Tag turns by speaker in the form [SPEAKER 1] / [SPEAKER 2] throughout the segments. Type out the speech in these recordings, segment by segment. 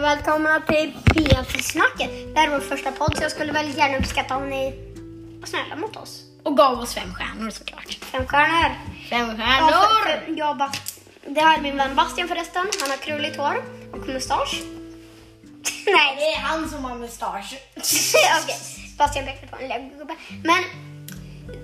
[SPEAKER 1] välkomna till PF-snacket. Det här är vår första podd så jag skulle väldigt gärna uppskatta om ni var snälla mot oss.
[SPEAKER 2] Och gav oss fem stjärnor såklart.
[SPEAKER 1] Fem stjärnor.
[SPEAKER 2] Fem
[SPEAKER 1] Ja, för-
[SPEAKER 2] stjärnor!
[SPEAKER 1] för- eh, jag Bast- det här är min vän Bastian förresten. Han har krulligt hår och mustasch. Nej,
[SPEAKER 2] Det är han som har mustasch.
[SPEAKER 1] okej. Bastian pekade på en läggubbe. Men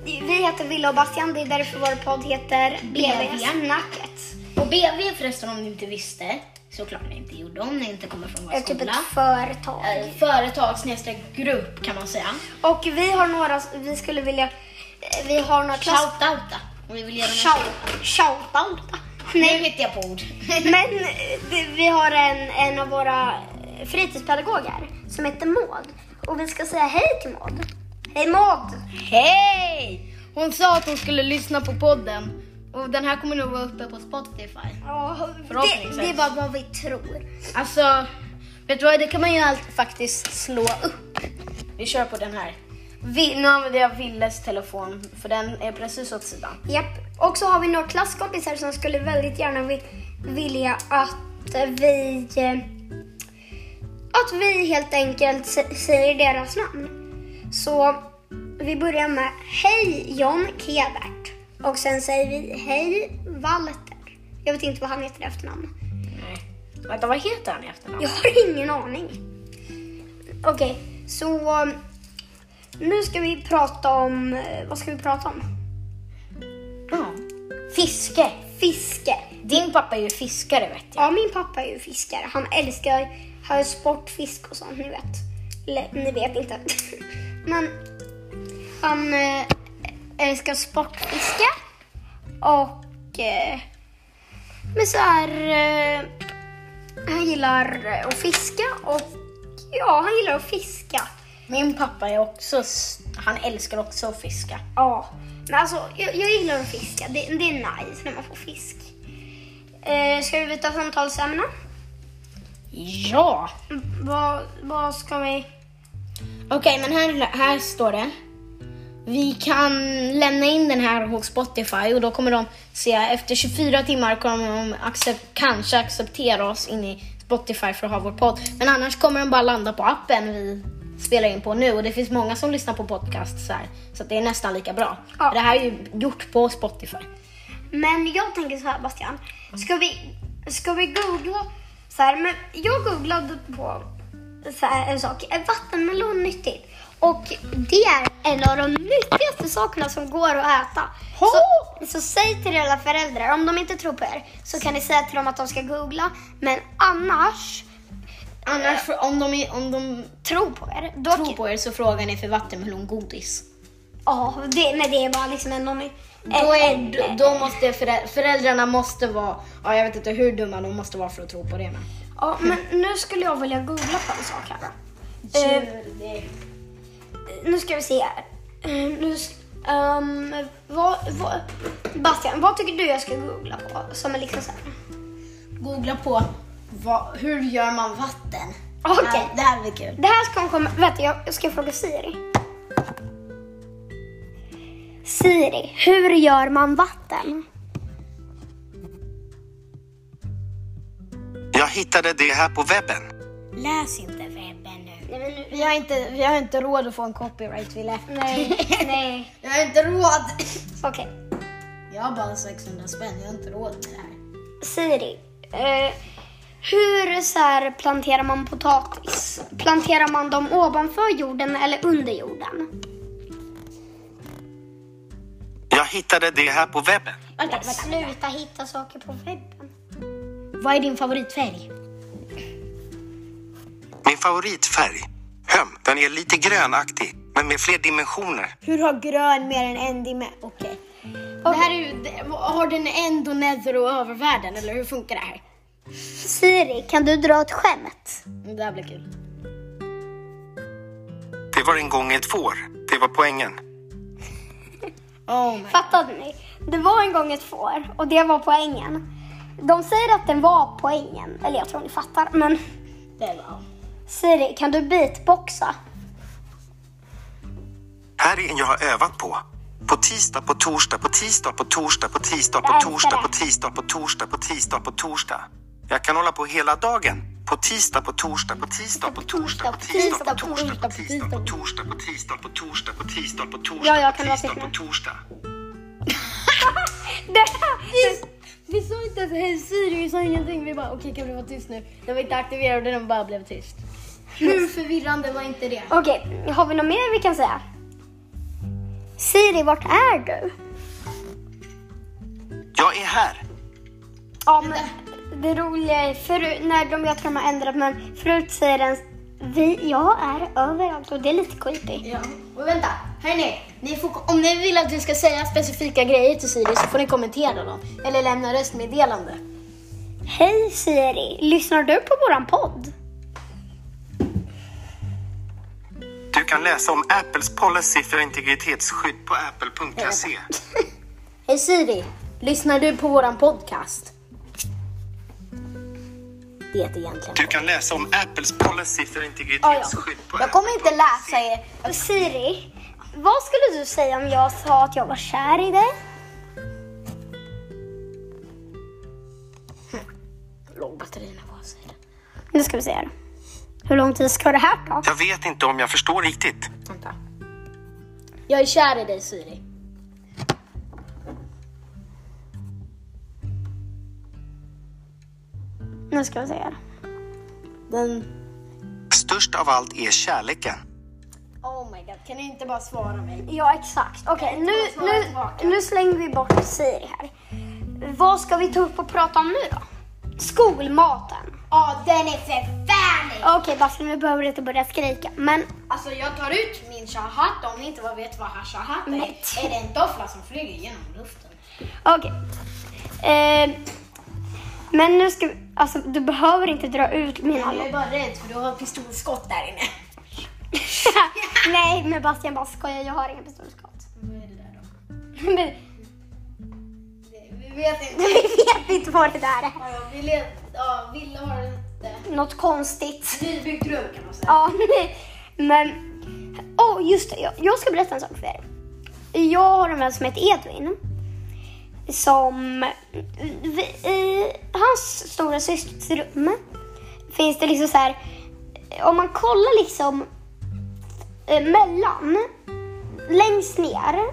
[SPEAKER 1] vi heter Villa och Bastian. Det är därför vår podd heter BV-snacket.
[SPEAKER 2] Och BV förresten om ni inte visste, såklart ni inte gjorde om ni inte kommer från vår
[SPEAKER 1] Det är typ
[SPEAKER 2] skola.
[SPEAKER 1] ett företag.
[SPEAKER 2] Eh, Företag snedstreck grupp kan man säga.
[SPEAKER 1] Och vi har några, vi skulle vilja, eh, vi har några klass...
[SPEAKER 2] Shoutouta om ni vill göra något.
[SPEAKER 1] Shout- Shoutouta.
[SPEAKER 2] Nu
[SPEAKER 1] Nej,
[SPEAKER 2] hittar jag på ord.
[SPEAKER 1] men eh, det- vi har en, en av våra eh, fritidspedagoger som heter Maud. Och vi ska säga hej till Maud. Hej Maud!
[SPEAKER 2] Hej! Hon sa att hon skulle lyssna på podden. Och den här kommer nog vara uppe på Spotify.
[SPEAKER 1] Ja,
[SPEAKER 2] Förhoppningsvis.
[SPEAKER 1] det, det är bara vad vi tror.
[SPEAKER 2] Alltså, vet du vad? Det kan man ju alltid faktiskt slå upp. Vi kör på den här. Vi, nu använder jag Villes telefon, för den är precis åt sidan.
[SPEAKER 1] Japp. Och så har vi några klasskompisar som skulle väldigt gärna vi, vilja att vi... eh, Att vi helt enkelt sä- säger deras namn. Så vi börjar med Hej John Kebert. Och sen säger vi Hej Walter. Jag vet inte vad han heter i efternamn.
[SPEAKER 2] Nej. Vänta, vad heter han i efternamn?
[SPEAKER 1] Jag har ingen aning. Okej, så um, nu ska vi prata om... eh, Vad ska vi prata om?
[SPEAKER 2] Ja. Fiske.
[SPEAKER 1] Fiske.
[SPEAKER 2] Din pappa är ju fiskare vet jag.
[SPEAKER 1] Ja, min pappa är ju fiskare. Han älskar han är sportfisk och sånt, ni vet. Eller, ni vet inte. Men han eh, älskar sportfiske och eh, men så här, eh, han gillar att fiska och ja, han gillar att fiska.
[SPEAKER 2] Min pappa är också, s- han älskar också att fiska.
[SPEAKER 1] Ja, men alltså jag, jag gillar att fiska. Det, det är nice när man får fisk. Eh, ska vi byta samtalsämne?
[SPEAKER 2] Ja!
[SPEAKER 1] Vad, vad ska vi...
[SPEAKER 2] Okej, men här, här står det. Vi kan lämna in den här hos Spotify och då kommer de se, efter 24 timmar kommer de accept, kanske acceptera oss in i Spotify för att ha vår podd. Men annars kommer den bara landa på appen vi spelar in på nu och det finns många som lyssnar på podcast så här. Så att det är nästan lika bra.
[SPEAKER 1] Ja.
[SPEAKER 2] För Det här är ju gjort på Spotify.
[SPEAKER 1] Men jag tänker så här Bastian, ska vi, ska vi googla? Så här, men jag googlade på så här, en sak, är vattenmelon nyttigt? Och det är en av de nyttigaste sakerna som går att äta.
[SPEAKER 2] Ho!
[SPEAKER 1] Så, så säg till era föräldrar, om de inte tror på er, så kan ni säga till dem att de ska googla. Men annars,
[SPEAKER 2] Annars, för- om de, är- om de
[SPEAKER 1] tro på er. Då
[SPEAKER 2] tror på er så frågar ni för vattenmelongodis.
[SPEAKER 1] Ja, det, men det är bara liksom en... en en-
[SPEAKER 2] Då, är, då- då måste förä- föräldrarna måste vara, ja, jag vet inte hur dumma de måste vara för att tro på det. Men.
[SPEAKER 1] Ja, men nu skulle jag vilja googla på en sak här då. Eh, nu ska vi se här. Eh, Nu, s- ehm, vad, vad, Bastian, vad tycker du jag ska googla på? Som är liksom så här.
[SPEAKER 2] Googla på vad, hur gör man vatten?
[SPEAKER 1] Okej.
[SPEAKER 2] Ja, Det här blir kul.
[SPEAKER 1] Det här ska komma... Vänta, jag, jag ska fråga Siri. Siri, hur gör man vatten?
[SPEAKER 3] Jag hittade det här på webben.
[SPEAKER 2] Läs inte webben nu.
[SPEAKER 1] Nej, men nu...
[SPEAKER 2] Vi har, inte, vi har inte råd att få en copyright Wille.
[SPEAKER 1] Nej, nej.
[SPEAKER 2] Jag har inte råd.
[SPEAKER 1] Okej.
[SPEAKER 2] Jag har bara 600 spänn, jag har inte råd med det här.
[SPEAKER 1] Siri, eh, hur så här planterar man potatis? Planterar man dem ovanför jorden eller under jorden?
[SPEAKER 3] Jag hittade det här på webben.
[SPEAKER 2] Vänta,
[SPEAKER 1] Men
[SPEAKER 2] vänta.
[SPEAKER 1] Sluta hitta saker på webben.
[SPEAKER 2] Vad är din favoritfärg?
[SPEAKER 3] Min favoritfärg. Höm, den är lite grönaktig, men med fler dimensioner.
[SPEAKER 2] Hur har grön mer än en dimension? Okej. Det här är ju, det- har den ändå nether och övervärlden eller hur funkar det här?
[SPEAKER 1] Siri, kan du dra ett skämt?
[SPEAKER 2] Det här blir kul.
[SPEAKER 3] Det var en gång ett får. Det var poängen.
[SPEAKER 2] Oh my.
[SPEAKER 1] Fattade ni? Det var en gång ett får och det var poängen. De säger att den var poängen, eller jag tror ni fattar, men
[SPEAKER 2] Det var.
[SPEAKER 1] Siri, kan du beatboxa?
[SPEAKER 3] Här är en jag har övat på. På tisdag, på torsdag, på tisdag, på torsdag, på tisdag,
[SPEAKER 1] Jag
[SPEAKER 3] på
[SPEAKER 1] älskar
[SPEAKER 3] torsdag,
[SPEAKER 1] det.
[SPEAKER 3] på tisdag, på torsdag, på tisdag, på torsdag. Jag kan hålla på hela dagen. På tisdag, på torsdag, på tisdag, på torsdag, på tisdag, på torsdag, på tisdag, på torsdag, på tisdag, på torsdag, på tisdag, på
[SPEAKER 1] Ja,
[SPEAKER 3] torsdag,
[SPEAKER 1] jag
[SPEAKER 3] på
[SPEAKER 1] kan vara
[SPEAKER 3] tisdag, på
[SPEAKER 1] säker.
[SPEAKER 3] torsdag.
[SPEAKER 1] Det här,
[SPEAKER 2] Vi sa inte ens hej Siri, vi sa ingenting. Vi bara okej kan du vara tyst nu? Den var inte aktiverad och den bara blev tyst. Hur förvirrande var inte det?
[SPEAKER 1] Okej, har vi något mer vi kan säga? Siri, vart är du?
[SPEAKER 3] Jag är här.
[SPEAKER 1] Ja, men det roliga är, förut, när de, jag tror de har ändrat, men förut säger den vi, jag är överallt och det är lite creepy.
[SPEAKER 2] Ja. Och vänta, hörni. Ni får, om ni vill att vi ska säga specifika grejer till Siri så får ni kommentera dem. Eller lämna röstmeddelande.
[SPEAKER 1] Hej Siri, lyssnar du på våran podd?
[SPEAKER 3] Du kan läsa om Apples policy för integritetsskydd på apple.se.
[SPEAKER 2] Hej Siri, lyssnar du på våran podcast? Det är egentligen.
[SPEAKER 3] Du kan läsa om Apples policy för integritetsskydd på
[SPEAKER 2] Jag kommer inte läsa er.
[SPEAKER 1] Och Siri, vad skulle du säga om jag sa att jag var kär i dig?
[SPEAKER 2] Låg batterierna på sig.
[SPEAKER 1] Nu ska vi se här. Hur lång tid ska det här ta?
[SPEAKER 3] Jag vet inte om jag förstår riktigt.
[SPEAKER 2] Vänta. Jag är kär i dig Siri.
[SPEAKER 1] Nu ska vi se här.
[SPEAKER 2] Den...
[SPEAKER 3] Störst av allt är kärleken.
[SPEAKER 2] Oh my god, kan ni inte bara svara mig?
[SPEAKER 1] Ja, exakt. Okej, nu, nu, nu slänger vi bort Siri här. Vad ska vi ta upp och prata om nu då? Skolmaten.
[SPEAKER 2] Ja, den är förfärlig!
[SPEAKER 1] Okej, Basse, nu behöver du inte börja skrika. Men
[SPEAKER 2] Alltså jag tar ut min shahat om ni inte vet vad shahat är.
[SPEAKER 1] Nej.
[SPEAKER 2] Är det en toffla som flyger genom luften?
[SPEAKER 1] okej. Eh, men nu ska vi, alltså du behöver inte dra ut mina
[SPEAKER 2] Jag är
[SPEAKER 1] lopp.
[SPEAKER 2] bara rädd för du har pistolskott där inne.
[SPEAKER 1] Nej, men Bastian bara skojar, jag har ingen pistolskott.
[SPEAKER 2] Vad är det där då?
[SPEAKER 1] Men
[SPEAKER 2] Vi vet inte.
[SPEAKER 1] vi vet inte vad det där är.
[SPEAKER 2] Ja, vi le- ja, Ville har inte.
[SPEAKER 1] Något konstigt.
[SPEAKER 2] Nybyggd rum kan man säga.
[SPEAKER 1] Ja, nej. men... Åh, oh, just det. Jag, jag ska berätta en sak för er. Jag har en vän som heter Edvin. Som... vi- I hans stora systers rum finns det liksom så här... Om man kollar liksom eh, mellan, längst ner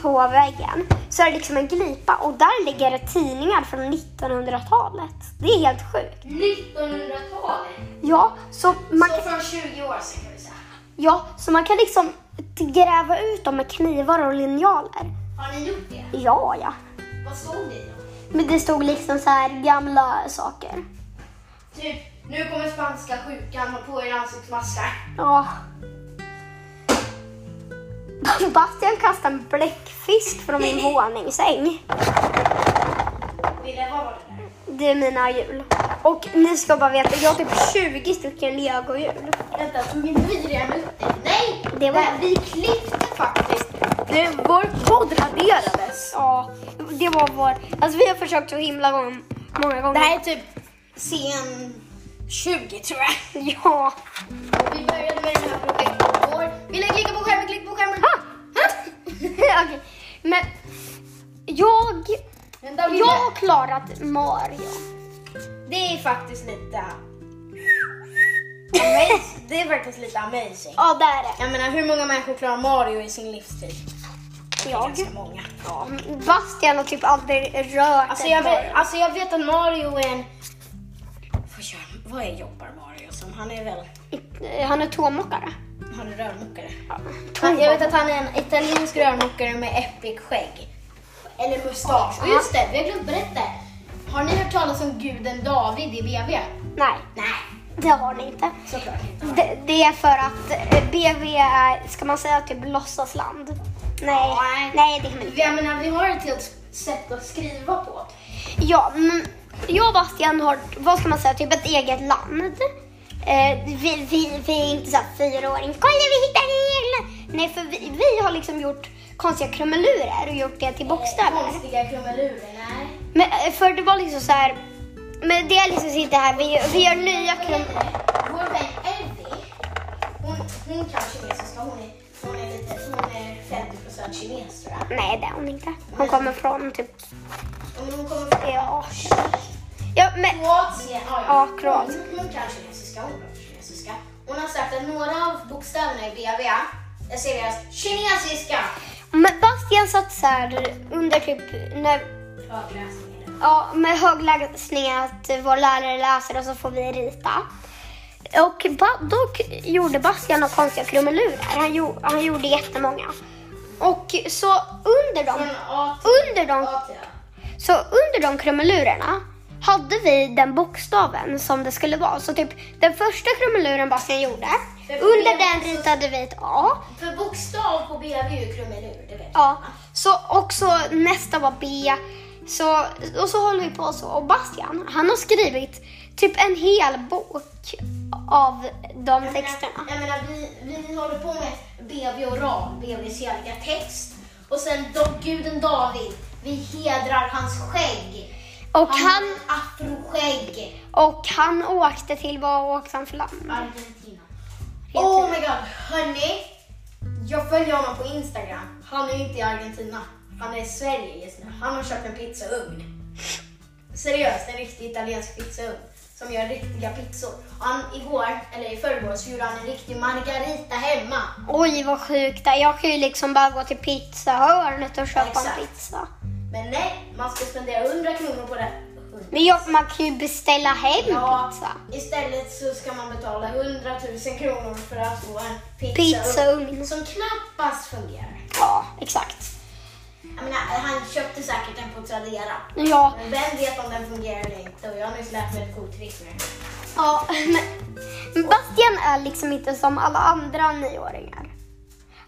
[SPEAKER 1] på väggen, så är det liksom en glipa och där ligger det tidningar från 1900-talet. Det är helt sjukt.
[SPEAKER 2] 1900-talet!
[SPEAKER 1] Ja, så man
[SPEAKER 2] Så från 20 år sedan kan vi säga.
[SPEAKER 1] Ja, så man kan liksom t- gräva ut dem med knivar och linjaler.
[SPEAKER 2] Har ni gjort det?
[SPEAKER 1] Ja, ja.
[SPEAKER 2] Vad såg ni då?
[SPEAKER 1] Men det stod liksom så här gamla saker.
[SPEAKER 2] Typ, nu kommer spanska sjukan, ha på er ansiktsmaskar.
[SPEAKER 1] Ja. Bastian kastade en bläckfisk från min våningssäng.
[SPEAKER 2] Ville, vad var det där?
[SPEAKER 1] Det är mina hjul. Och ni ska bara veta, jag har typ 20 stycken legohjul.
[SPEAKER 2] Vänta, tog inte vi redan ut det? Nej!
[SPEAKER 1] Det var-
[SPEAKER 2] Nej, vi klippte faktiskt.
[SPEAKER 1] Det, vår podd raderades. Ja, det var vår... Alltså vi har försökt så himla gång, många gånger.
[SPEAKER 2] Det här är typ scen 20 tror jag.
[SPEAKER 1] Ja.
[SPEAKER 2] Vi började med den här projektet igår. Ville, klicka på skärmen, klicka på skärmen.
[SPEAKER 1] Okej, men jag
[SPEAKER 2] Vänta, Ville.
[SPEAKER 1] Jag har klarat Mario.
[SPEAKER 2] Det är faktiskt lite... Amaz- det är faktiskt lite amazing.
[SPEAKER 1] Ja, där är det.
[SPEAKER 2] Jag menar, hur många människor klarar Mario i sin livstid?
[SPEAKER 1] jag.
[SPEAKER 2] Ganska många. Ja.
[SPEAKER 1] Bastian har typ aldrig rört
[SPEAKER 2] Alltså
[SPEAKER 1] en
[SPEAKER 2] jag,
[SPEAKER 1] Mario.
[SPEAKER 2] vet, alltså jag vet att Mario är en... Vad, gör, vad är jobbar Mario som? Han är väl...
[SPEAKER 1] Han är tåmockare.
[SPEAKER 2] Han är rörmokare.
[SPEAKER 1] Tåmockare.
[SPEAKER 2] Han, jag vet att han är en italiensk rörmokare med epic skägg. Eller mustasch. Och just det, vi har glömt berätta. Har ni hört talas om guden David i BB?
[SPEAKER 1] Nej,
[SPEAKER 2] Nej,
[SPEAKER 1] det har ni inte.
[SPEAKER 2] såklart inte.
[SPEAKER 1] Det, det är för att eh, BV är, ska man säga typ låtsasland? Nej,
[SPEAKER 2] Nej.
[SPEAKER 1] nej det kan man inte.
[SPEAKER 2] Jag menar, vi har ett helt sätt att skriva på.
[SPEAKER 1] Ja, men jag och Bastian har, vad ska man säga, typ ett eget land. Eh, vi, vi, vi är inte så här fyraåring. Kolla vi hittar regler! Nej, för vi, vi har liksom gjort konstiga krumelurer och gjort det till bokstäver.
[SPEAKER 2] Konstiga krumelurer, nej.
[SPEAKER 1] Men eh, för det var liksom så här. Men det är liksom inte här. Vi, vi gör nya krum...
[SPEAKER 2] Vår vän Elvi, hon, hon kan kinesiska. Hon är, hon är, lite, hon är 50% kines tror jag.
[SPEAKER 1] Nej, det är hon inte. Hon kommer från typ...
[SPEAKER 2] Ja, Men hon kommer från
[SPEAKER 1] Ja, Ja, men...
[SPEAKER 2] Kroatien. Ah,
[SPEAKER 1] Ja, Kroatien.
[SPEAKER 2] Hon, hon kan kinesiska, hon pratar kinesiska. Hon har sagt att några av bokstäverna i BV är seriöst kinesiska.
[SPEAKER 1] Men Bastian satt så här under typ när,
[SPEAKER 2] Högläsning. eller?
[SPEAKER 1] ja, med högläsning att vår lärare läser och så får vi rita. Och ba, då k- gjorde Bastian några konstiga krumelurer. Han, gjo- han gjorde jättemånga. Och så under
[SPEAKER 2] Från
[SPEAKER 1] dem,
[SPEAKER 2] A till
[SPEAKER 1] under dem
[SPEAKER 2] A till Ö.
[SPEAKER 1] Så under de krumelurerna hade vi den bokstaven som det skulle vara. Så typ den första krumeluren Bastian gjorde, under den ritade vi ett A.
[SPEAKER 2] För bokstav på BV är ju krumelur, det vet
[SPEAKER 1] Ja, så, och så nästa var B. Så, och så håller vi på så. Och Bastian, han har skrivit typ en hel bok av de
[SPEAKER 2] Jag
[SPEAKER 1] texterna.
[SPEAKER 2] menar- Jag menar, vi, vi håller på med BV oral, BVs heliga text. Och sen do, guden David, vi hedrar hans skägg.
[SPEAKER 1] Och han,
[SPEAKER 2] hade afroskägg.
[SPEAKER 1] och han åkte till, vad åkte han för land?
[SPEAKER 2] Argentina. Oh my god, hörni. Jag följer honom på Instagram. Han är inte i Argentina. Han är i Sverige just nu. Han har köpt en pizzaugn. Seriöst, en riktig italiensk pizzaugn som gör riktiga pizzor. Och Han, igår, eller i förrgår, så gjorde han en riktig margarita hemma.
[SPEAKER 1] Oj vad sjukt, jag kan ju liksom bara gå till pizzahörnet och köpa
[SPEAKER 2] Exakt.
[SPEAKER 1] en pizza.
[SPEAKER 2] Men nej, man ska spendera 100 kronor på det.
[SPEAKER 1] Men jag, man kan ju beställa hem
[SPEAKER 2] Ja,
[SPEAKER 1] pizza.
[SPEAKER 2] istället så ska man betala 100 000 kronor för att få en pizzaugn
[SPEAKER 1] Pizzaugn.
[SPEAKER 2] som knappast fungerar.
[SPEAKER 1] Ja, exakt.
[SPEAKER 2] Jag menar, han köpte säkert den på Tradera.
[SPEAKER 1] Ja,
[SPEAKER 2] Men vem vet om den fungerar eller inte och jag har nyss lärt mig ett coolt trick med den.
[SPEAKER 1] ja men, men Bastian är liksom inte som alla andra nioåringar.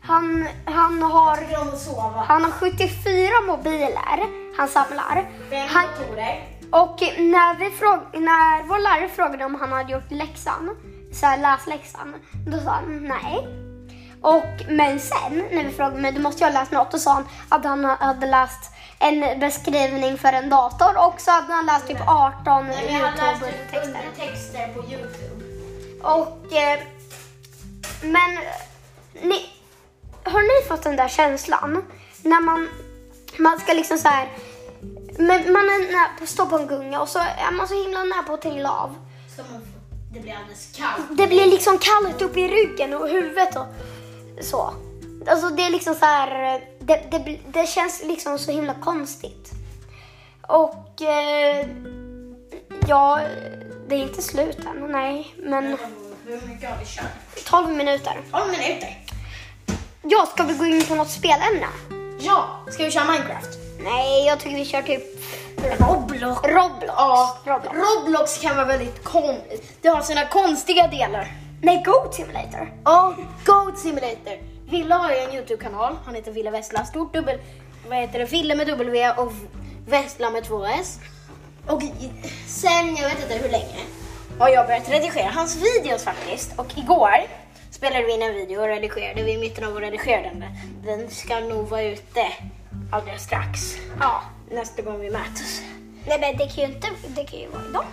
[SPEAKER 1] Han, han,
[SPEAKER 2] Jag
[SPEAKER 1] har,
[SPEAKER 2] tycker om att sova.
[SPEAKER 1] han har 74 mobiler han samlar.
[SPEAKER 2] Fem
[SPEAKER 1] Han,
[SPEAKER 2] motorer.
[SPEAKER 1] och när, vi fråg, när vår lärare frågade om han hade gjort läxan, så här läsläxan, då sa han nej. Och, men sen när vi frågade men du måste ju ha läst något, då sa han att han hade läst en beskrivning för en dator och så hade han läst typ 18
[SPEAKER 2] Nej, men jag har läst ut
[SPEAKER 1] YouTube-texter.
[SPEAKER 2] undertexter på Youtube.
[SPEAKER 1] Och... Eh, men... Ni, har ni fått den där känslan? När man, man ska liksom så här... Men man är nära på, står på en gunga och så är man så himla nära på att trilla av.
[SPEAKER 2] Som man får. Det blir alldeles kallt.
[SPEAKER 1] Det blir liksom kallt upp i ryggen och huvudet och så. Alltså det är liksom så här... eh, Det, det, blir- det känns liksom så himla konstigt. Och... Eh, ja, det är inte slut än, nej. Men
[SPEAKER 2] Hur mycket har vi kört?
[SPEAKER 1] 12 minuter.
[SPEAKER 2] 12 minuter.
[SPEAKER 1] Ja, ska vi gå in på något spelämne?
[SPEAKER 2] Ja, ska vi köra Minecraft?
[SPEAKER 1] Nej, jag tycker vi kör typ
[SPEAKER 2] Roblox.
[SPEAKER 1] Roblox.
[SPEAKER 2] Ja,
[SPEAKER 1] Roblox.
[SPEAKER 2] Roblox kan vara väldigt kon... Det har sina konstiga delar.
[SPEAKER 1] Nej, Goat Simulator.
[SPEAKER 2] Ja, Goat Simulator. Ville har ju en YouTube-kanal. Han heter Ville Vessla. Stort dubbel... Vad heter det? Ville med W och V- Vessla med två S. Och i- sen, jag vet inte hur länge, har jag börjat redigera hans videos faktiskt. Och igår spelade vi in en video och redigerade. Vi är i mitten av att redigera den. Den ska nog vara ute alldeles strax.
[SPEAKER 1] Ja.
[SPEAKER 2] Nästa gång vi möts.
[SPEAKER 1] Nej, men det kan ju inte... Det kan ju vara idag.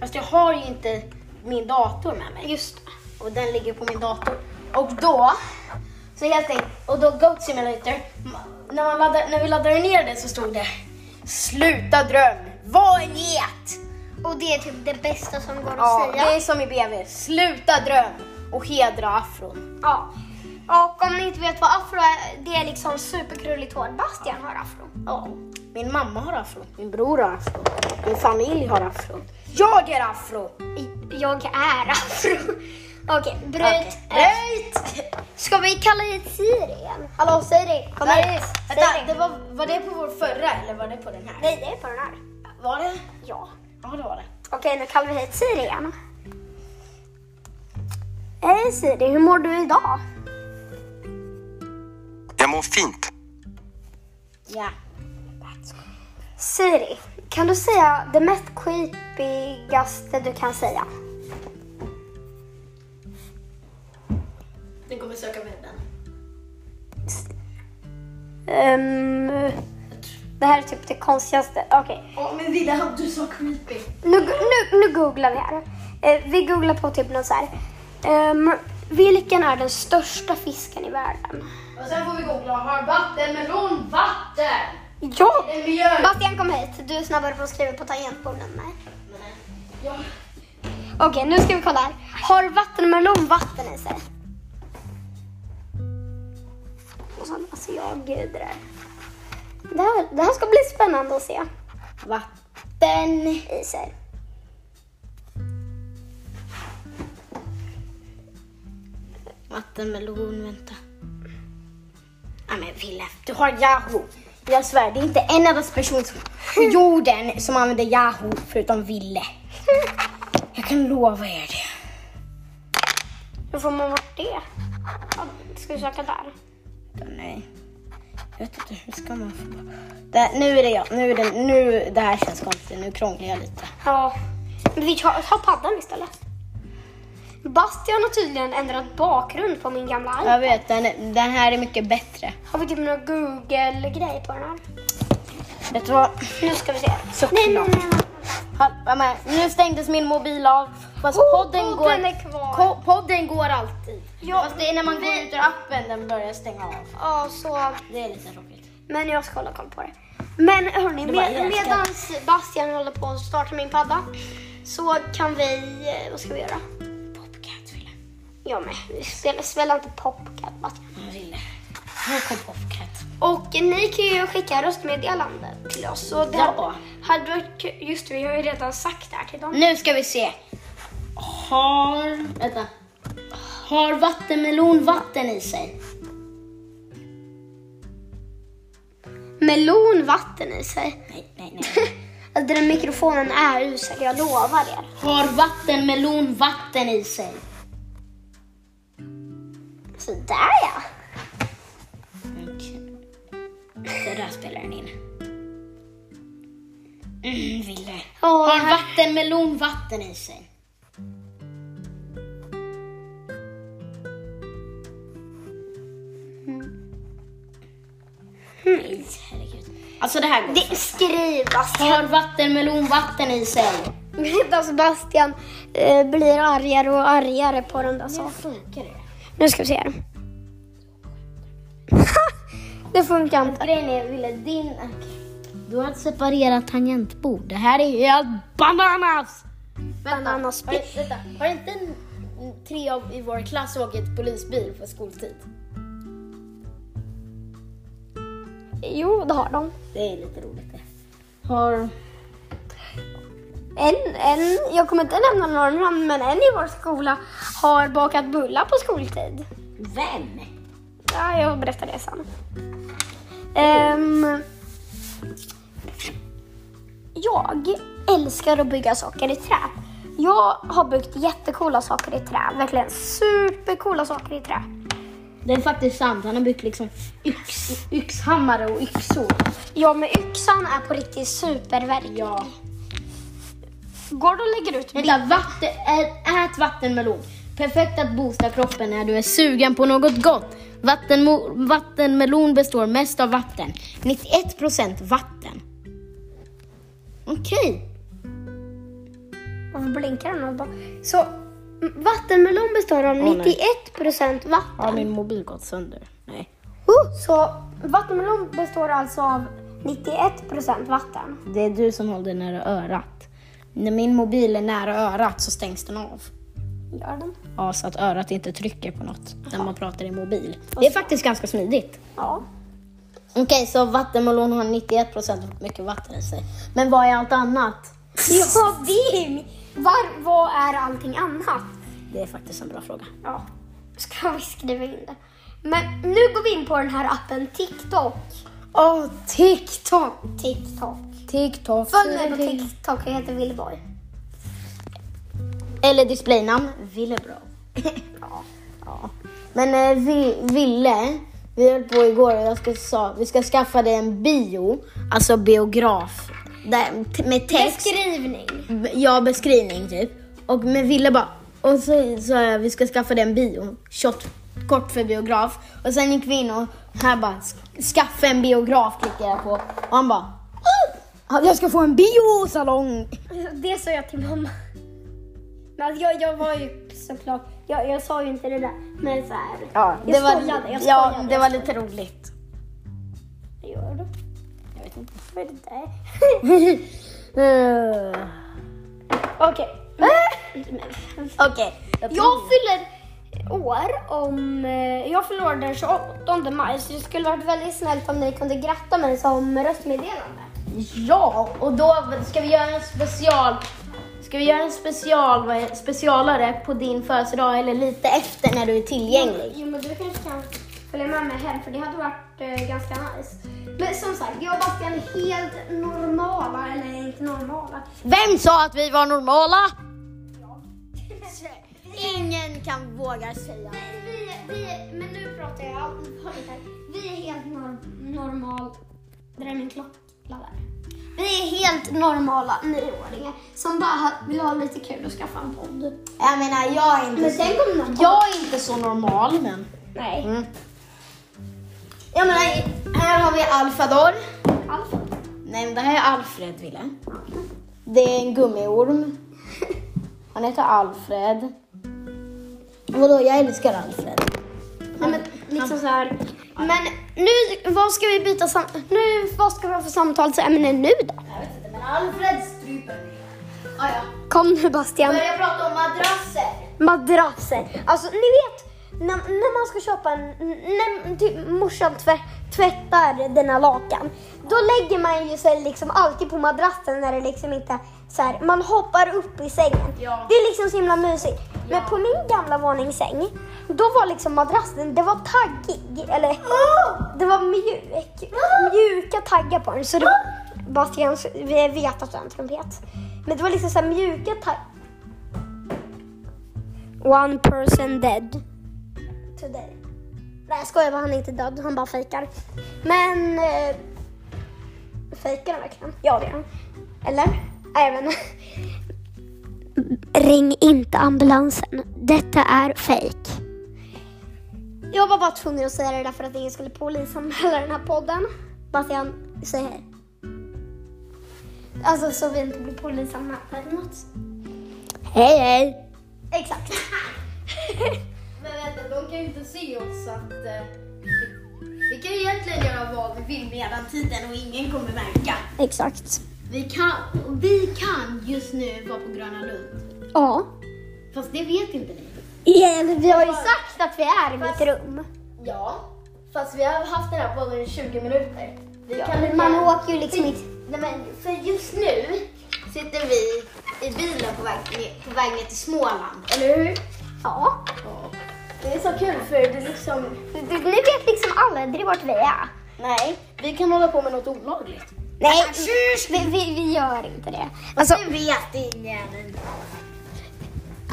[SPEAKER 2] Fast jag har ju inte min dator med mig.
[SPEAKER 1] Just det.
[SPEAKER 2] och den ligger på min dator. Och då, så helt enkelt, och då Goat Simulator, m- när, man laddar, när vi laddade ner det så stod det Sluta dröm, var en get!
[SPEAKER 1] Och det är typ det bästa som går att
[SPEAKER 2] Ja, det
[SPEAKER 1] säga.
[SPEAKER 2] är som i BV, sluta dröm och hedra afron.
[SPEAKER 1] Ja. Och om ni inte vet vad afro är, det är liksom superkrulligt hår. Bastian har afro.
[SPEAKER 2] Ja. Min mamma har afro, min bror har afro, min familj har afro. Jag är afro!
[SPEAKER 1] I- Jag är afro. Okej, bryt.
[SPEAKER 2] Röjt!
[SPEAKER 1] Ska vi kalla hit Siri igen? Hallå Siri, kom hit.
[SPEAKER 2] Vänta,
[SPEAKER 1] Siri.
[SPEAKER 2] det var, var det på vår förra eller var det på den här?
[SPEAKER 1] Nej, det är på den här.
[SPEAKER 2] Var det?
[SPEAKER 1] Ja.
[SPEAKER 2] Ja, det var det.
[SPEAKER 1] Okej, nu kallar vi hit Siri igen. Hej Siri, hur mår du idag?
[SPEAKER 3] Jag mår fint.
[SPEAKER 2] Ja.
[SPEAKER 1] Siri, kan du säga det mest creepigaste du kan säga?
[SPEAKER 2] Den kommer söka webben.
[SPEAKER 1] Ehm, det här är typ det konstigaste. Okej,
[SPEAKER 2] Ja, men Villa, du sa creepy.
[SPEAKER 1] nu, nu, nu googlar vi här. Eh, vi googlar på typ något så här. Ehm, vilken är den största fisken i världen?
[SPEAKER 2] Och sen får vi googla, har vattenmelon vatten? Ja!
[SPEAKER 1] Bastian kom hit. Du är snabbare på att skriva på tangentbordet än mig. Okej, nu ska vi kolla här. Har vattenmelon vatten i sig? Och sen, Alltså jag, gud det där. Det här, det här ska bli spännande att se. Vatten i sig.
[SPEAKER 2] Vattenmelon, vänta. Nej men Wille, du har Yahoo. Jag svär, det är inte en enda person som- på jorden som använder Yahoo förutom Ville. Jag kan lova er det.
[SPEAKER 1] Hur får man bort det? Ja, Ska vi söka där?
[SPEAKER 2] Nej. Jag vet inte, hur ska man få... Det, nu är det jag, nu är det, nu, det här känns konstigt, nu krånglar jag lite.
[SPEAKER 1] Ja. Men vi tar, tar paddan istället. Bastian har tydligen ändrat bakgrund på min gamla iPad.
[SPEAKER 2] Jag vet, den, den här är mycket bättre.
[SPEAKER 1] Har vi typ någon Google-grej på den här?
[SPEAKER 2] Vet du vad?
[SPEAKER 1] Nu ska vi se.
[SPEAKER 2] Såklart.
[SPEAKER 1] Nej, nej, nej. nej.
[SPEAKER 2] Hallå, men Nu stängdes min mobil av. Fast
[SPEAKER 1] Oh,
[SPEAKER 2] podden,
[SPEAKER 1] podden
[SPEAKER 2] går,
[SPEAKER 1] är kvar.
[SPEAKER 2] ko- podden går alltid.
[SPEAKER 1] Ja,
[SPEAKER 2] Fast det är när man går ut ur appen den börjar stänga av.
[SPEAKER 1] Ja, så.
[SPEAKER 2] Det är lite tråkigt.
[SPEAKER 1] Men jag ska hålla koll på det. Men hörni,
[SPEAKER 2] var
[SPEAKER 1] med,
[SPEAKER 2] elakt.
[SPEAKER 1] medans Bastian håller på att starta min padda så kan vi... eh, Vad ska vi göra?
[SPEAKER 2] Popcat ville.
[SPEAKER 1] Jag med. Vi spelar, spelar inte Popcat, Bastian.
[SPEAKER 2] Jag ville. Nu kom Popcat.
[SPEAKER 1] Och ni kan ju skicka röstmeddelanden till oss. Så det
[SPEAKER 2] Ja.
[SPEAKER 1] hade varit kul- Just det, vi har ju redan sagt det här till dem.
[SPEAKER 2] Nu ska vi se. Har... Vänta. Har vattenmelon vatten i sig?
[SPEAKER 1] Melon vatten i sig.
[SPEAKER 2] Nej, nej, nej.
[SPEAKER 1] Alltså, den här mikrofonen är usel, jag lovar er.
[SPEAKER 2] Har vattenmelon vatten i sig?
[SPEAKER 1] Så där ja.
[SPEAKER 2] Okej. Så där spelar den in. Mm, Ville.
[SPEAKER 1] Åh,
[SPEAKER 2] Har
[SPEAKER 1] det här-
[SPEAKER 2] vattenmelon vatten i sig? Mm. Nej, herregud. Alltså det här går.
[SPEAKER 1] det, skriv Bastian.
[SPEAKER 2] Har vattenmelon vatten i sig?
[SPEAKER 1] Medan Sebastian eh, blir argare och argare på den där saken.
[SPEAKER 2] funkar det?
[SPEAKER 1] Nu ska vi se här. det funkar inte.
[SPEAKER 2] Grejen är, Ville, din... Du har ett separerat tangentbord. Det här är helt bananas!
[SPEAKER 1] Bananas.
[SPEAKER 2] Har, vänta, har inte en, tre av i vår klass åkt polisbil på skoltid?
[SPEAKER 1] Jo, det har de.
[SPEAKER 2] Det är lite roligt det. Har...
[SPEAKER 1] En, en, jag kommer inte nämna några namn, men en i vår skola har bakat bullar på skoltid.
[SPEAKER 2] Vem?
[SPEAKER 1] Ja, jag berättar det sen. Ehm, jag älskar att bygga saker i trä. Jag har byggt jättekola saker i trä. Verkligen supercoola saker i trä.
[SPEAKER 2] Det är faktiskt sant. Han har byggt liksom yx, yxhammare och yxor.
[SPEAKER 1] Jag med yxan är på riktigt superverklig.
[SPEAKER 2] Ja.
[SPEAKER 1] Går du och lägger ut
[SPEAKER 2] Vänta, vatten, ät, ät vattenmelon. Perfekt att boosta kroppen när du är sugen på något gott. Vattenmo, vattenmelon består mest av vatten. 91% vatten. Okej.
[SPEAKER 1] Varför blinkar den? och bara- Så m- vattenmelon består av 91%
[SPEAKER 2] Har
[SPEAKER 1] vatten.
[SPEAKER 2] min mobil gått sönder? Nej.
[SPEAKER 1] Oh, så vattenmelon består alltså av 91% vatten.
[SPEAKER 2] Det är du som håller nära örat. När min mobil är nära örat så stängs den av.
[SPEAKER 1] Gör den?
[SPEAKER 2] Ja, så att örat inte trycker på något när man pratar i mobil. Det är faktiskt ganska smidigt.
[SPEAKER 1] Ja.
[SPEAKER 2] Okej, så vattenmelon har 91% mycket vatten i sig. Men vad är allt annat?
[SPEAKER 1] Ja, det Var, vad är allting annat?
[SPEAKER 2] Det är faktiskt en bra fråga.
[SPEAKER 1] Ja, ska vi skriva in det. Men nu går vi in på den här appen TikTok.
[SPEAKER 2] Åh, TikTok!
[SPEAKER 1] TikTok.
[SPEAKER 2] TikTok.
[SPEAKER 1] Följ mig på TikTok, jag heter Willborg.
[SPEAKER 2] Eller displaynamn. Willebro.
[SPEAKER 1] Ja.
[SPEAKER 2] Ja. Men eh, vi, Ville, vi höll på igår och jag ska, sa, vi ska skaffa dig en bio, alltså biograf, där, t- med text.
[SPEAKER 1] Beskrivning.
[SPEAKER 2] Ja, beskrivning typ. Och men Ville bara, och så sa jag vi ska skaffa den bio, short, kort för biograf. Och sen gick vi in och här bara, "Sk- skaffa en biograf klickade jag på. Och han bara, "Ah, jag ska få en biosalong.
[SPEAKER 1] Det sa jag till mamma. Men alltså, jag, jag var ju såklart, jag, jag sa ju inte det där. Men så här,
[SPEAKER 2] Ja,
[SPEAKER 1] jag
[SPEAKER 2] det var,
[SPEAKER 1] skojade, jag skojade.
[SPEAKER 2] ja, det var lite roligt.
[SPEAKER 1] Gör du?
[SPEAKER 2] Jag vet inte.
[SPEAKER 4] Vad är det där?
[SPEAKER 2] Eh, Okej. Äh! Okej.
[SPEAKER 1] Jag fyller år om... eh, Jag fyller år den 28 maj så det skulle varit väldigt snällt om ni kunde gratta mig som röstmeddelande.
[SPEAKER 2] Ja, och då ska vi göra en special. Ska vi göra en special, vad är- specialare på din födelsedag eller lite efter när du är tillgänglig?
[SPEAKER 1] Jo men du kanske kan följa med mig hem för det hade varit eh, ganska nice. Men som sagt, jag och Bastian är helt normala, eller inte normala.
[SPEAKER 2] Vem sa att vi var normala? Ingen kan våga säga.
[SPEAKER 1] Vi, vi, men nu pratar jag allvarligt här. Vi är helt nor- normal... Det där är min klocka där. Vi är helt normala nioåringar som bara ha- vill ha lite kul och skaffa en podd.
[SPEAKER 2] Jag menar, jag är
[SPEAKER 1] Men
[SPEAKER 2] inte,
[SPEAKER 1] sen kom någon
[SPEAKER 2] jag är inte så normal, men...
[SPEAKER 1] Nej.
[SPEAKER 2] Mm. Jag menar, här har vi Alfador.
[SPEAKER 1] Alfred.
[SPEAKER 2] Nej, men det här är Alfred, Ville. Det är en gummiorm. Han heter Alfred. Vadå, jag älskar Alfred.
[SPEAKER 1] Nej, men liksom så här. Men nu, vad ska vi byta sam- Nu, vad ska vi ha för samtalsämne nu då?
[SPEAKER 2] Jag vet inte, men Alfred stryper mig. Ah, ja.
[SPEAKER 1] Kom nu Bastian.
[SPEAKER 2] Börja prata om madrasser.
[SPEAKER 1] Madrasser. Alltså ni vet, när, när man ska köpa en... När typ, morsan tvä, tvättar dina lakan. Då lägger man ju sig liksom alltid på madrassen när det liksom inte... Så här, man hoppar upp i sängen.
[SPEAKER 2] Ja.
[SPEAKER 1] Det är liksom så himla mysigt. Men på min gamla våningssäng, då var liksom madrassen, det var taggig. Eller det var mjuk, mjuka taggar på den. Så det var, Bastian vi vet att du har en trumpet. Men det var liksom så här mjuka taggar. One person dead. Today. Nej jag skojar bara, han är inte död, han bara fejkar. Men... Eh, fejkar han verkligen? Ja det gör han. Eller? Nej jag vet inte. Ring inte ambulansen. Detta är fejk. Jag var bara tvungen att säga det där för att ingen skulle polisanmäla den här podden. Bastian, säg hej. Alltså så vi inte blir polisanmälda eller något.
[SPEAKER 2] Hej, hej.
[SPEAKER 1] Exakt.
[SPEAKER 4] Men vänta, de kan ju inte se oss så att... eh, vi- Vi kan ju egentligen göra vad vi vill medan tiden och ingen kommer märka.
[SPEAKER 1] Exakt.
[SPEAKER 4] Vi kan, och vi kan just nu vara på Gröna Lund.
[SPEAKER 1] Ja.
[SPEAKER 4] Fast det vet inte ni.
[SPEAKER 1] Eller vi har ju sagt att vi är i mitt rum.
[SPEAKER 4] Ja, fast vi har haft den här podden i 20 minuter. Vi kan lika-
[SPEAKER 1] Man åker ju liksom inte...
[SPEAKER 4] Nej, men för just nu sitter vi i bilen på väg, ner- på väg ner till Småland, eller hur?
[SPEAKER 1] Ja.
[SPEAKER 4] Det är så kul för det liksom...
[SPEAKER 1] Du, du, ni vet liksom aldrig vart vi är.
[SPEAKER 4] Nej, vi kan hålla på med något olagligt.
[SPEAKER 1] Nej, Alltså, vi, vi, vi gör inte det. Alltså,
[SPEAKER 4] Det vet ingen.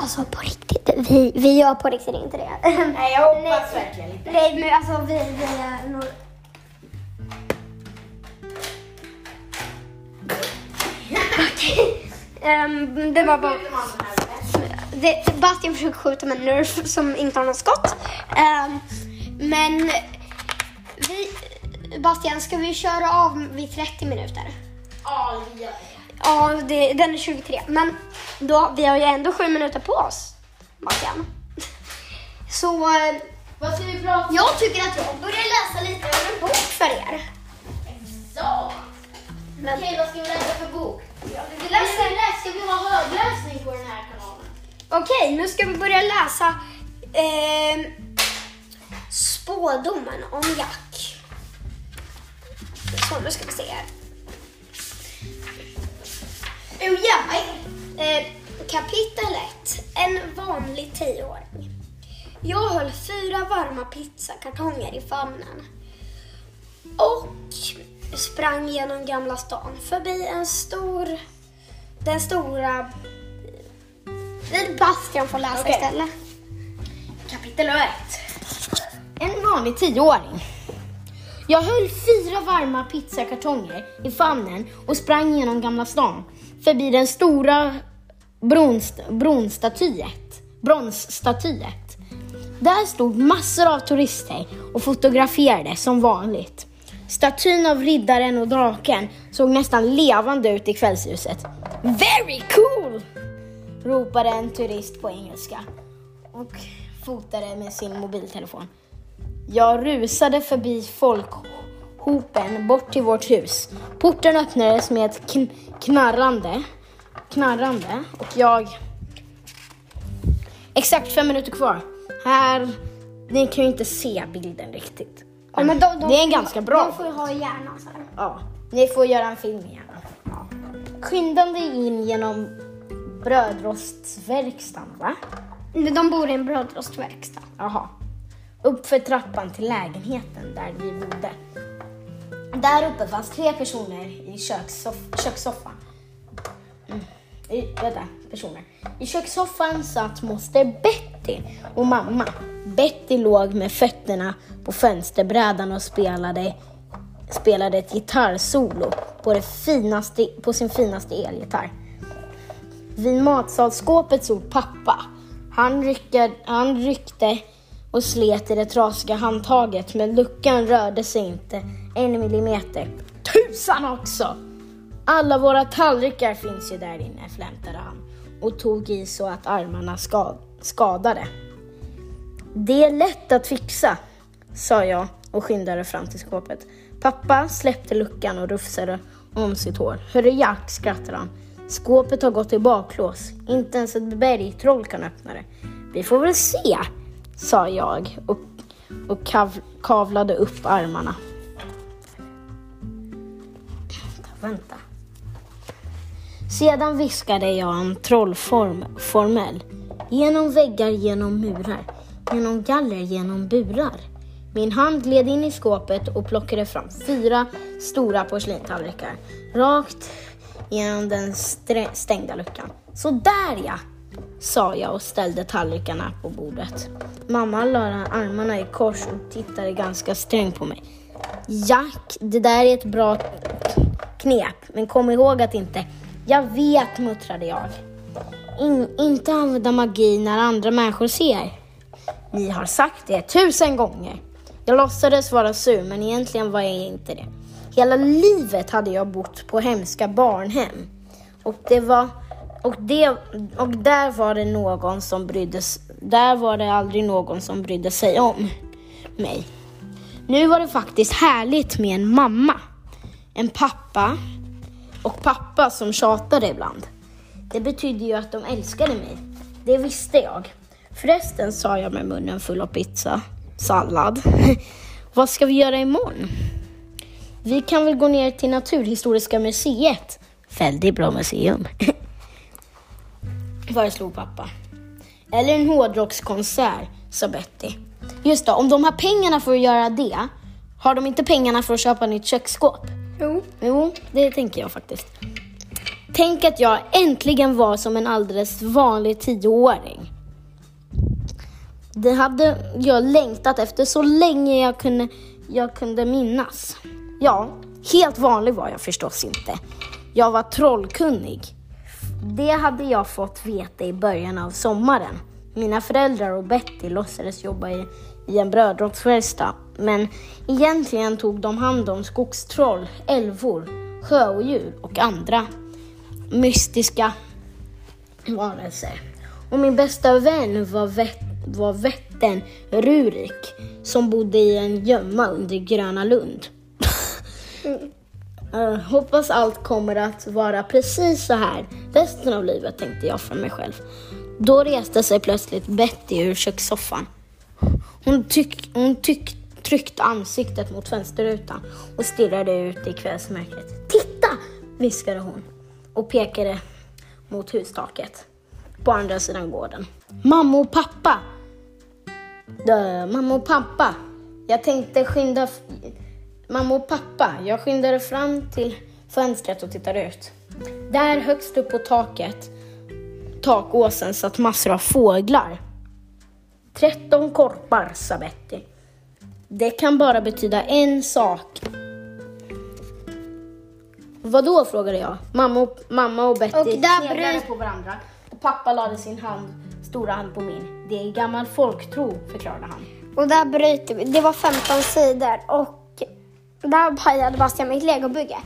[SPEAKER 1] alltså på riktigt, vi, vi gör på riktigt inte det.
[SPEAKER 4] Mm. Nej, jag hoppas verkligen inte.
[SPEAKER 1] Nej, men alltså vi, vi är nog... Okej. Ehm, det var bara... Det, Bastian försöker skjuta med en nerf som inte har något skott. Ehm, men vi... Bastian, ska vi köra av vid 30 minuter?
[SPEAKER 4] Ja, vi gör
[SPEAKER 1] Ja, det, den är 23. Men då, vi har ju ändå sju minuter på oss, Bastian. Så... eh,
[SPEAKER 4] Vad ska vi prata om?
[SPEAKER 1] jag tycker att jag börjar läsa lite ur en bok för er.
[SPEAKER 4] Ja. Okej, vad ska vi läsa för bok? Vi läser, ska vi ha högläsning på den här kanalen?
[SPEAKER 1] Okej, nu ska vi börja läsa ehm, Spådomen om Jack. Så, nu ska vi se här. Oh, ja. eh, kapitel 1. En vanlig tioåring. Jag höll fyra varma pizzakartonger i famnen. Och sprang genom Gamla stan förbi en stor... Den stora... Nej, Bastian får läsa
[SPEAKER 2] Okej.
[SPEAKER 1] istället.
[SPEAKER 2] Kapitel 1. En vanlig tioåring. Jag höll fyra varma pizzakartonger i famnen och sprang genom Gamla stan förbi den stora bronst, bronstatyet, bronsstatyet. Där stod massor av turister och fotograferade som vanligt. Statyn av riddaren och draken såg nästan levande ut i kvällsljuset. Very cool! ropade en turist på engelska och fotade med sin mobiltelefon. Jag rusade förbi folk, hopen bort till vårt hus. Porten öppnades med ett kn- knarrande, knarrande och jag... Exakt fem minuter kvar. Här... Ni kan ju inte se bilden riktigt.
[SPEAKER 1] Ja, men de- de-
[SPEAKER 2] det är en ganska bra
[SPEAKER 1] De får ju ha i hjärnan så här.
[SPEAKER 2] Ja, ni får göra en film igen. Skyndande in genom brödrostverkstan, va?
[SPEAKER 1] De bor i en brödrostverkstad.
[SPEAKER 2] Jaha. Upp för trappan till lägenheten där vi bodde. Där uppe fanns tre personer i kökssoff- kökssoffan. Mm. I, vänta, personer. I kökssoffan satt moster Betty och mamma. Betty låg med fötterna på fönsterbrädan och spelade, spelade ett gitarrsolo på, det finaste, på sin finaste elgitarr. Vid matsalsskåpet stod pappa. Han, ryckade, han ryckte och slet i det trasiga handtaget men luckan rörde sig inte en millimeter. Tusan också! Alla våra tallrikar finns ju där inne, flämtade han och tog i så att armarna ska, skadade. Det är lätt att fixa, sa jag och skyndade fram till skåpet. Pappa släppte luckan och rufsade om sitt hår. Hörru Jack, skrattade han. Skåpet har gått i baklås. Inte ens ett bergtroll kan öppna det. Vi får väl se, sa jag och, och kav, kavlade upp armarna. Vänta, vänta. Sedan viskade jag en trollformel. Genom väggar, genom murar, genom galler, genom burar. Min hand gled in i skåpet och plockade fram fyra stora porslintallrikar. Rakt genom den strä- stängda luckan. Så där ja, sa jag och ställde tallrikarna på bordet. Mamma la armarna i kors och tittade ganska strängt på mig. Jack, det där är ett bra knep, men kom ihåg att inte... Jag vet, muttrade jag. In, inte använda magi när andra människor ser. Ni har sagt det tusen gånger. Jag låtsades vara sur, men egentligen var jag inte det. Hela livet hade jag bott på hemska barnhem. Och det var... Och, det, och där var det någon som brydde s- Där var det aldrig någon som brydde sig om mig. Nu var det faktiskt härligt med en mamma, en pappa och pappa som tjatade ibland. Det betydde ju att de älskade mig. Det visste jag. Förresten sa jag med munnen full av pizza, sallad. Vad ska vi göra imorgon? Vi kan väl gå ner till Naturhistoriska museet? Väldigt bra museum. Föreslog pappa. Eller en hårdrockskonsert, sa Betty. Just det, om de har pengarna för att göra det, har de inte pengarna för att köpa nytt köksskåp?
[SPEAKER 1] Jo.
[SPEAKER 2] Jo, det tänker jag faktiskt. Tänk att jag äntligen var som en alldeles vanlig tioåring. Det hade jag längtat efter så länge jag kunde, jag kunde minnas. Ja, helt vanlig var jag förstås inte. Jag var trollkunnig. Det hade jag fått veta i början av sommaren. Mina föräldrar och Betty låtsades jobba i, i en brödrotsverkstad. Men egentligen tog de hand om skogstroll, älvor, sjöodjur och andra mystiska varelser. Och min bästa vän var, vet, var vätten Rurik som bodde i en gömma under Gröna Lund. Eh, hoppas allt kommer att vara precis så här resten av livet, tänkte jag för mig själv. Då reste sig plötsligt Betty ur kökssoffan. Hon, tyck, hon tyck, tryckte ansiktet mot fönsterrutan och stirrade ut i kvällsmörkret. Titta! viskade hon och pekade mot hustaket på andra sidan gården. Mamma och pappa! Dö, mamma och pappa! Jag tänkte skynda... f- Mamma och pappa, jag skyndade fram till fönstret och tittade ut. Där högst upp på taket, takåsen, satt massor av fåglar. 13 korpar, sa Betty. Det kan bara betyda en sak. Vad då? frågade jag. Mamma och, mamma och Betty
[SPEAKER 1] Och där
[SPEAKER 2] sneglade
[SPEAKER 1] bröt-
[SPEAKER 2] på varandra och pappa lade sin hand, stora hand på min. Det är gammal folktro, förklarade han.
[SPEAKER 1] Och där bryter vi. Det var 15 sidor och där pajade Bastian mitt legobygge.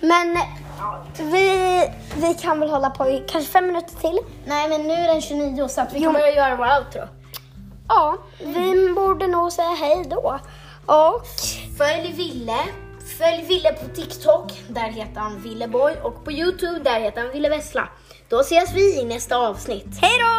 [SPEAKER 1] Men vi, vi kan väl hålla på i kanske fem minuter till.
[SPEAKER 2] Nej, men nu är den 29 så att vi
[SPEAKER 1] Jo,
[SPEAKER 2] kommer att göra vår outro.
[SPEAKER 1] Ja, vi borde nog säga hej då. Och
[SPEAKER 2] Följ Ville Följ Ville på TikTok, där heter han Villeboy och på Youtube där heter han Ville Vessla. Då ses vi i nästa avsnitt.
[SPEAKER 1] Hej då!